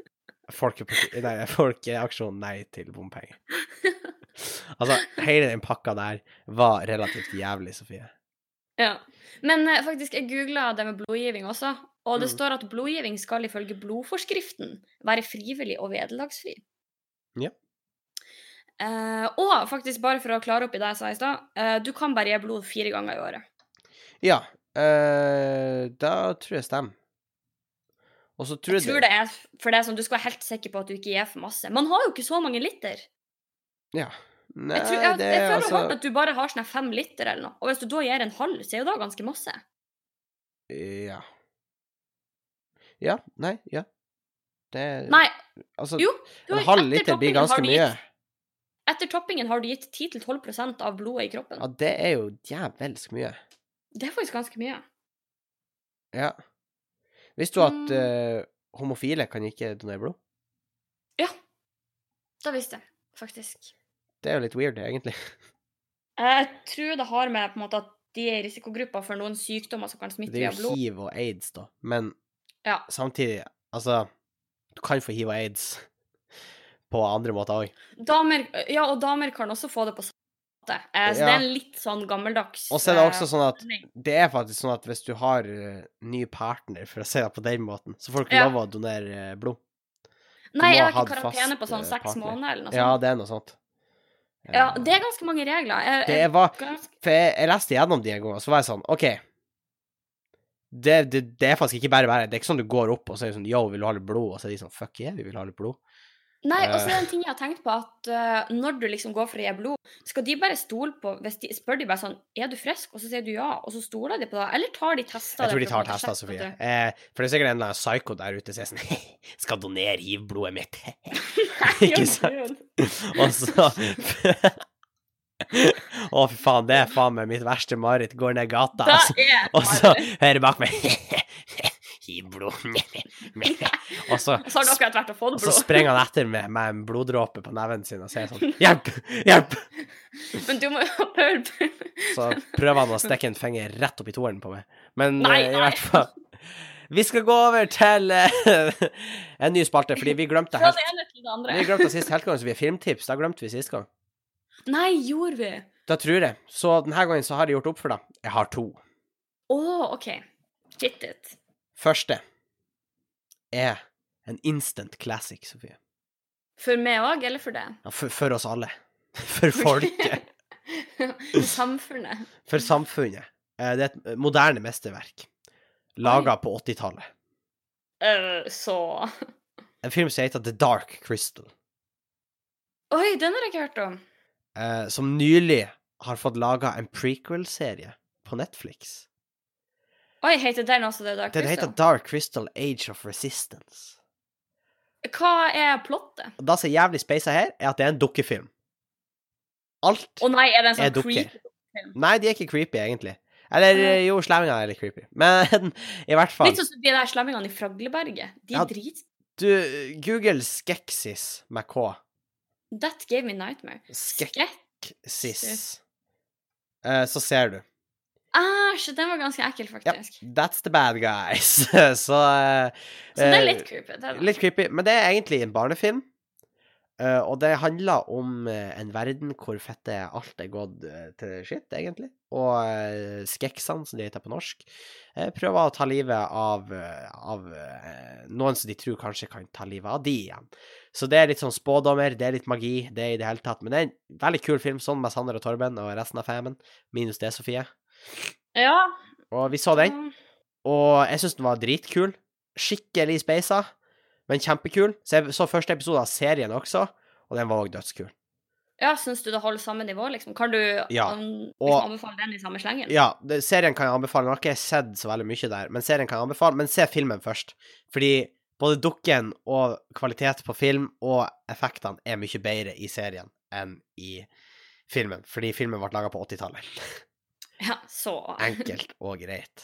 Folkeparti... Nei, Folkeaksjon nei til bompenger. Altså, hele den pakka der var relativt jævlig, Sofie.
Ja. Men eh, faktisk, jeg googla det med blodgivning også, og det
Mm.
står at blodgivning skal ifølge blodforskriften være frivillig og vederlagsfri.
Ja.
Eh, og faktisk, bare for å klare opp i det jeg sa i stad, eh, du kan bare gi blod fire ganger i året.
Ja, eh, da tror jeg stemmer. Og så tror
Jeg
jeg,
tror det er for det er sånn, du skal være helt sikker på at du ikke gir for masse. Man har jo ikke så mange liter.
Nei,
Jeg, tror, jeg,
det
jeg
er
føler
altså
hardt at du bare har sånn her fem liter eller noe, og hvis du da gir en halv, så er jo da ganske masse.
Ja. Ja, nei, ja. Det er
Nei,
Altså,
jo, du
en
har-
halv
etter
liter blir
toppingen har
ganske
du
mye.
gitt- Etter toppingen har du gitt 10-12 av blodet i kroppen.
Ja, det er jo djevelsk mye.
Det er faktisk ganske mye.
Ja. Visste du at
Mm.
eh, homofile kan ikke donere blod?
Ja. Da visste jeg, faktisk.
Det er jo litt weird, egentlig.
Jeg tror det har med på en måte at de er i risikogruppa for noen sykdommer som kan smitte
Det
via
er jo
blod.
hiv og aids, da. Men
Ja.
samtidig, altså Du kan få hiv og aids på andre måter òg.
Damer, ja, og damer kan også få det på samme matte. Eh, så
Ja.
det er en litt sånn gammeldags
Og så er det
eh,
også sånn at
ordning.
det er faktisk sånn at hvis du har eh, ny partner, for å si det på den måten, så får du ikke
Ja.
lov å donere eh, blod.
Nei,
må
jeg
ha
har ikke
hatt
karantene
fast,
på sånn
eh,
seks
partner.
måneder eller noe
Ja,
sånt.
det er noe sånt. Eh,
Ja, det er ganske mange regler. Jeg,
det
jeg,
er hva
ganske,
For jeg, jeg leste gjennom de en gang, og så var jeg sånn OK. Det, det, det er faktisk ikke bare bare. Det er ikke sånn du går opp og sier sånn Yo, vil du ha litt blod? Og så er de sånn Fuck yeah, vi vil ha litt blod.
Nei,
Eh.
og så er det en ting jeg har tenkt på, at eh, når du liksom går for å gi blod, skal de bare stole på hvis de, Spør de bare sånn Er du frisk? Og så sier du ja, og så stoler de på deg? Eller tar de tester?
Jeg tror de
deg for å
tar
på en måte
tester, Sofie.
sjekke at
Eh, for det er sikkert en eller annen psycho der ute som er sånn Skal donere hivblodet mitt.
du-
Ikke sant? og så Å, fy faen, det er faen meg mitt verste mareritt. Går ned gata,
Da
og så,
er
og så
det
hører jeg bak meg Hivblod. og så
Så har dere etter hvert fått
Og så
blod.
sprenger han etter med, med en bloddråpe på neven sin og sier sånn Hjelp! Hjelp!
Men du må jo høre
Så prøver han å stikke en finger rett opp i toeren på meg. Men
Nei,
eh, i
nei.
hvert fall Vi skal gå over til eh, en ny spalte, fordi vi glemte
fra
helt
det ene til det andre.
Vi glemte sist heltgang, så vi har filmtips. Da glemte vi sist gang.
Nei, gjorde vi?
Da tror jeg. Så denne gangen så har jeg gjort opp for deg. Jeg har to.
Å, OK. Shit it.
Første er en instant classic, Sofie.
For meg òg, eller for det?
Ja, for, for oss alle. For folket.
Samfunnet.
For samfunnet. Eh, Det er et moderne mesterverk. Laga på 80-tallet.
Eh, så
En film som heter The Dark Crystal.
Oi, den har jeg ikke hørt om.
eh, Som nylig har fått laga en prequel-serie på Netflix.
Oi, heter den også det? Dark
Den
Crystal?
heter Dark Crystal Age of Resistance.
Hva er plottet?
Og Det som er jævlig speisa her, er at det er en dukkefilm. Alt
Å nei, er det en
er
sånn
dukker.
creep?
Nei, de er ikke creepy, egentlig. Eller eh, jo, slemminga er litt creepy. Men i hvert fall
Litt sånn som de der slemmingene i Fragleberget. De
Ja.
er drit...
Du, Google Skeksis med K.
That gave me nightmare.
Skeksis.
Skrekk.
Eh, så ser du.
Æsj, Ah, den var ganske ekkel, faktisk.
That's the bad guys. så eh,
Så det
eh,
er litt creepy. Det er det.
litt creepy. Men det er egentlig en barnefilm. Eh, og det handler om eh, en verden hvor fette alt er gått eh, til skitt, egentlig. Og uh, skeksene, som de heter på norsk, eh, prøver å ta livet av, eh, av eh, noen som de tror kanskje kan ta livet av de igjen. Så det er litt sånn spådommer, det er litt magi, det er i det hele tatt. Men det er en veldig kul film, sånn med Sander og Torben og resten av famen. Minus det, Sofie.
Ja. mm.
Og vi så den. Og jeg syns den var dritkul. Skikkelig speisa, men kjempekul. Så jeg så første episode av serien også, og den var òg dødskul.
ja, syns du det holder samme nivå, liksom? Kan du
Ja,
an-
og-
liksom, anbefale den i samme slengen?
Ja, det, serien kan jeg anbefale. Nå har ikke jeg sett så veldig mye der, men serien kan jeg anbefale. Men se filmen først, fordi både dukken og kvalitet på film og effektene er mye bedre i serien enn i filmen, fordi filmen ble laga på 80-tallet.
Ja, så
Enkelt og greit.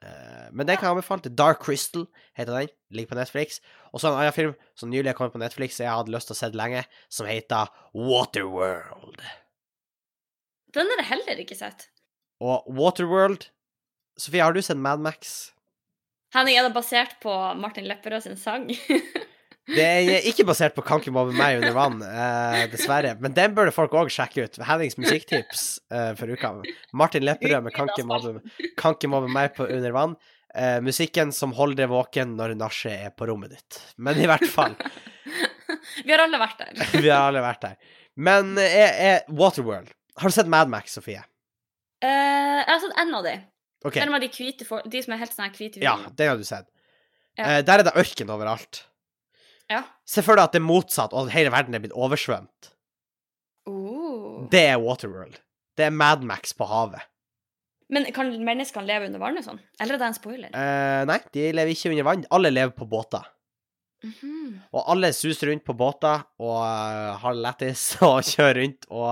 Eh, Men den kan jeg anbefale til Dark Crystal, heter den. Ligger på Netflix. Og så en annen film som nylig har kommet på Netflix, som jeg hadde lyst til å se lenge, som heter Waterworld.
Den har jeg heller ikke sett.
Og Waterworld Sofie, har du sett Mad Max?
Henning, er det basert på Martin Lepperød sin sang?
Det er ikke basert på Kan ikke mobbe meg under vann, eh, dessverre. Men den burde folk òg sjekke ut. Hennings musikktips eh, for uka. Martin Lepperød med Kan ikke mobbe, kan ikke mobbe meg på under vann. Eh, musikken som holder deg våken når nachet er på rommet ditt. Men i hvert fall.
Vi har alle vært der.
Vi har alle vært der. Men eh, er, er Waterworld Har du sett Mad Max, Sofie?
Eh, jeg har sett en av de.
OK.
Den med de hvite for... De som er helt sånn her hvite.
Ja, den har du sett.
Ja.
Eh, der er det ørken overalt.
Ja.
Se for deg at det er motsatt, og at hele verden er blitt oversvømt.
Oh.
Det er Waterworld. Det er Mad Max på havet.
Men kan menneskene leve under vannet sånn? Eller er det en spoiler?
Eh, nei, de lever ikke under vann. Alle lever på båter. Eh.
Mhm.
Og alle suser rundt på båter og eh, har det lættis og kjører rundt og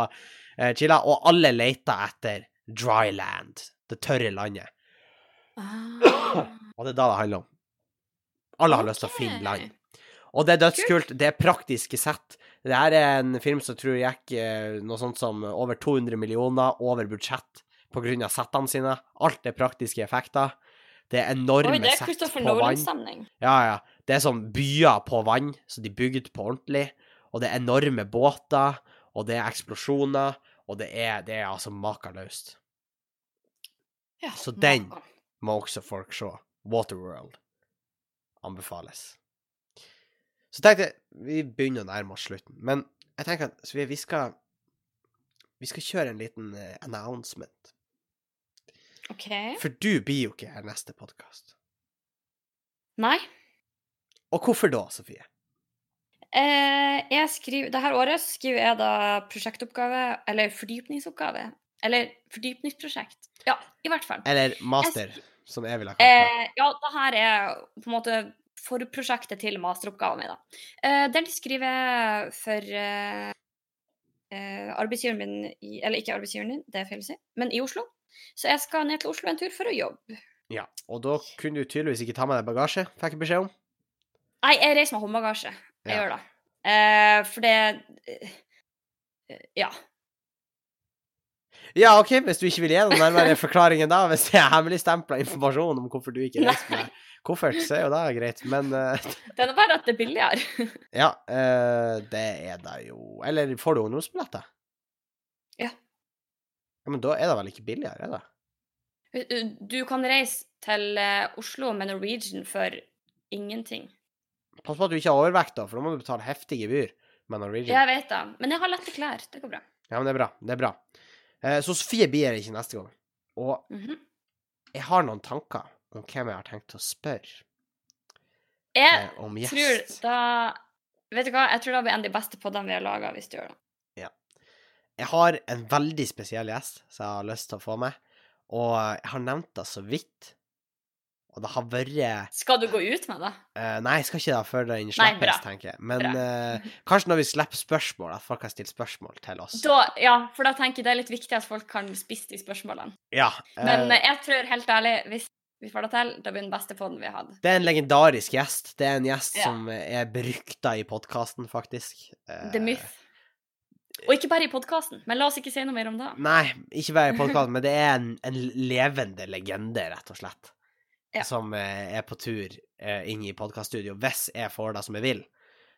eh, chiller. Og alle leter etter dry land, det tørre landet.
Ah.
Og det er da det handler om. Alle har lyst til å
Ok.
finne land. Og det er dødskult. Det er praktiske sett. Det her er en film som tror jeg gikk eh, noe sånt som over 200 millioner over budsjett på grunn av settene sine. Alt er praktiske effekter. Det er
Oi,
enorme
det er
sett
Christopher
på vann.
Nolan-stemning.
Ja, ja. Det er sånn byer på vann som de bygde på ordentlig. Og det er enorme båter, og det er eksplosjoner, Og det er, det er altså makeløst.
Ja,
Så
makan.
den- må også folk se. Waterworld anbefales. Så tenkte jeg Vi begynner å nærme oss slutten, men jeg tenker at så vi, vi skal Vi skal kjøre en liten eh, announcement.
OK.
For du blir jo ikke her neste podkast.
Nei.
Og hvorfor da, Sofie?
Eh, jeg skriver, det her året så skriver jeg da prosjektoppgave, eller fordypningsoppgave. Eller fordypningsprosjekt. Ja, i hvert fall.
Eller master, som jeg ville ha kalt det.
Eh, ja, det her er på en måte forprosjektet til masteroppgaven min. Da. Eh, den skriver jeg for eh, eh, arbeidsgiveren min i, Eller ikke arbeidsgiveren din, det er feil å si, men i Oslo. Så jeg skal ned til Oslo en tur for å jobbe.
Ja. Og da kunne du tydeligvis ikke ta med deg bagasje, fikk jeg beskjed om.
Nei, jeg reiser med håndbagasje. Jeg
Ja.
gjør det. Eh, for det eh, Ja.
Ja, OK, hvis du ikke vil gi noen nærmere forklaringer da, hvis det er hemmeligstempla informasjon om hvorfor du ikke reiser
Nei.
med koffert, så er jo det greit, men eh,
Det er nå bare at det er billigere.
Ja, eh, det er det jo. Eller får du ungdomsbilletter?
Ja.
ja. Men da er det vel ikke billigere, er det?
Du kan reise til eh, Oslo med Norwegian for ingenting.
Pass på at du ikke har overvekt, da, for da må du betale heftig gebyr med Norwegian.
Jeg vet det, men jeg har lette klær. Det går bra.
Ja, men det er bra. Det er bra. Eh, så Sofie blir her ikke neste gang. Og
Mhm.
jeg har noen tanker om hvem jeg har tenkt å spørre
Jeg
eh, om gjest.
tror da Vet du hva, jeg tror det blir en av de beste podene vi har laga, hvis du gjør det.
Jeg har en veldig spesiell gjest som jeg har lyst til å få med, og jeg har nevnt det så vidt. Og det har vært
Skal du gå ut med det?
Eh, nei, jeg skal ikke det før den
Nei, bra.
slippes, tenker jeg. Men
Bra.
eh, kanskje når vi slipper spørsmål, at folk kan stille spørsmål til oss.
Da, ja, for da tenker jeg det er litt viktig at folk kan spisse de spørsmålene.
ja, eh,
Men eh, jeg tror helt ærlig, hvis vi får det til, da blir den beste podden vi har hatt.
det er en legendarisk gjest. Det er en gjest
Ja.
som er berykta i podkasten, faktisk. Eh,
The Myth. Og ikke bare i podkasten, men la oss ikke si noe mer om det.
Nei, ikke bare i podkasten, men det er en, en levende legende, rett og slett,
Ja.
som eh, er på tur eh, inn i podkaststudio, hvis jeg får det som jeg vil.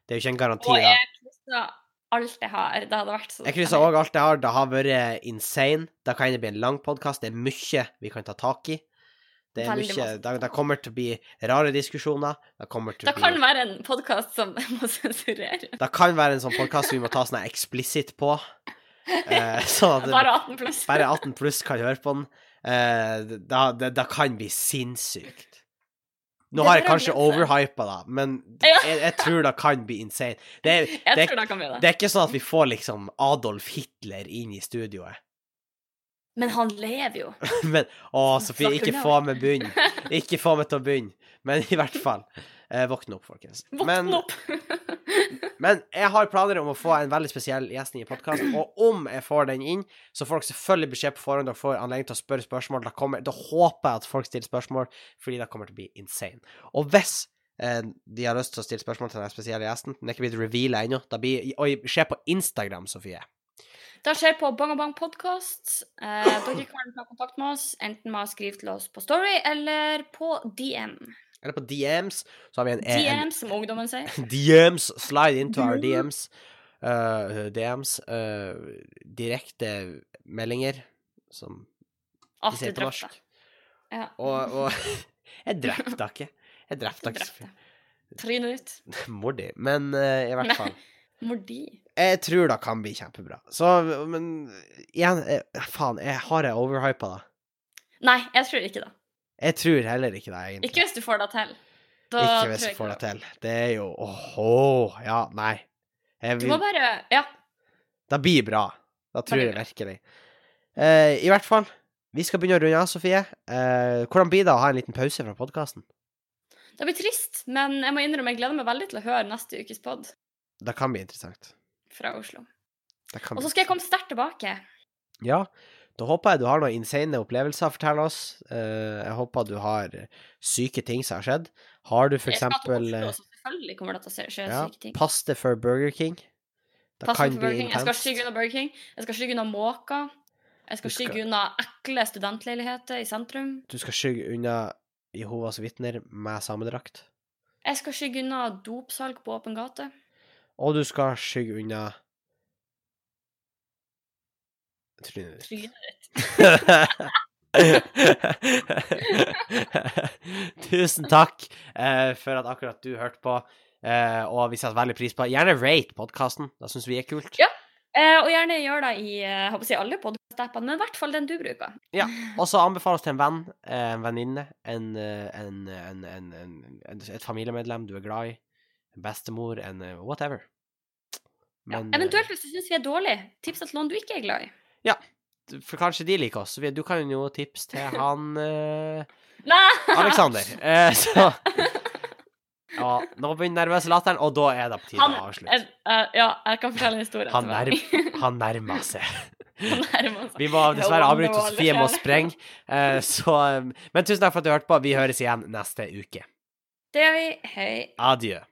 Det er jo ikke en garanti,
Og
da.
jeg krysser alt jeg har. Det hadde vært så
Jeg krysser òg alt jeg har. Det har vært eh, insane. Det kan bli en lang podkast. Det er mye vi kan ta tak i. Det, er
Veldig
mye,
masse.
det, det kommer til å bli rare diskusjoner. Det, kommer til
Det
å bli,
kan være en podkast som jeg må sensurere.
det kan være en sånn podkast vi må ta sånn her eksplisitt på. Eh, sånn at
Bare 18 pluss.
bare 18 pluss kan høre på den. Eh, det, det, det kan bli sinnssykt. Nå
Det
har jeg
bare
kanskje
gleder
overhypa det, men
Ja.
jeg, jeg tror det kan bli insane. Det, er-
Jeg
det, er-
tror det kan bli det.
det er ikke sånn at vi får liksom Adolf Hitler inn i studioet.
Men han lever jo.
Men å, Sofie,
Snakk
ikke
unna.
få meg bunn. Ikke få meg til å begynne. Men i hvert fall. Eh, våkne opp, folkens. Men,
Våkn opp!
men jeg har planer om å få en veldig spesiell gjest inn i podkasten. Og om jeg får den inn, så får dere selvfølgelig beskjed på forhånd. Dere får anledning til å spørre spørsmål. Da, kommer, da håper jeg at folk stiller spørsmål, fordi det kommer til å bli insane. Og hvis eh, de har lyst til å stille spørsmål til den spesielle gjesten, den er ikke blitt reveala ennå, da blir Oi, se på Instagram, Sofie.
Det skjer på Bang Bang Podcast. Eh, dere kan ta kontakt med oss enten med å skrive til oss på Story eller på DM.
Eller på DMs, så har vi en, E en
DM, som ungdommen sier.
DMs, slide into our DMs. Uh, DMs. Uh, direkte meldinger, som vi
At du
sier på
drepte.
norsk.
Ja.
Og, og jeg drepte da ikke. Jeg drepte da ikke
Drepte. Trynet ditt.
så- mor di, men uh, i hvert fall.
Mordi.
Jeg tror det kan bli kjempebra. Så, men igjen, eh, faen, jeg har jeg overhypa det?
Nei, jeg tror ikke det.
Jeg tror heller ikke det, egentlig.
Ikke hvis du får det til. Da
Ikke hvis
tror
jeg får det
ikke
til. Det er jo åh, ja, nei. Jeg
Du må
vil,
bare Ja.
det blir bra. Det tror
blir
jeg
bra.
virkelig. Eh, I hvert fall, vi skal begynne å runde av, Sofie. Eh, hvordan blir det å ha en liten pause fra podkasten?
Det blir trist, men jeg må innrømme jeg gleder meg veldig til å høre neste ukes pod
Det kan bli interessant.
fra Oslo.
Det kan
Og
bli
så skal jeg komme sterkt tilbake.
Ja, da håper jeg du har noen insane opplevelser å fortelle oss. Eh, jeg håper du har syke ting som har skjedd. Har du for
Jeg skal til
eksempel
Oslo,
eh,
så selvfølgelig kommer det til å skje skje
ja,
syke ting.
paste for Burger King? Det
Pass meg
kan
for Burger
bli
King. Jeg skal
intenst.
skygge unna Burger King. Jeg skal skygge unna måker. Jeg skal
Du skal-
skygge unna ekle studentleiligheter i sentrum.
Du skal skygge unna Jehovas vitner med samedrakt.
Jeg skal skygge unna dopsalg på åpen gate.
Og du skal skygge unna Trynet ditt.
Trynet ditt.
Tusen takk eh, for at akkurat du hørte på, eh, og vi setter veldig pris på Gjerne rate podkasten, det syns vi er kult.
Ja. Eh, og gjerne gjør det i eh, jeg håper å si alle podkast-appene, men i hvert fall den du bruker.
Og så anbefales til en venn, eh, en venninne, en, eh, en, en, en, en, en, et familiemedlem du er glad i, en bestemor, en eh, whatever. Men, eh,
Eventuelt hvis du syns vi er dårlige, tips til noen du ikke er glad i.
For kanskje de liker oss. så vi- Du kan jo tipse til han eh,
Nei!
Aleksander. Eh, så Ja, nå begynner den nervøse latteren, og da er det på tide
Han,
å avslutte.
eh, eh, ja, jeg kan fortelle en historie.
Han
etterpå.
Han nærmer seg.
Han nærmer seg.
Vi må dessverre
Jo,
avbryte,
det var
og Sofie
litt
må
kjedelig.
sprenge. Eh, Så, eh, men tusen takk for at du hørte på. Vi høres igjen neste uke.
Det gjør vi. Hei.
Adjø.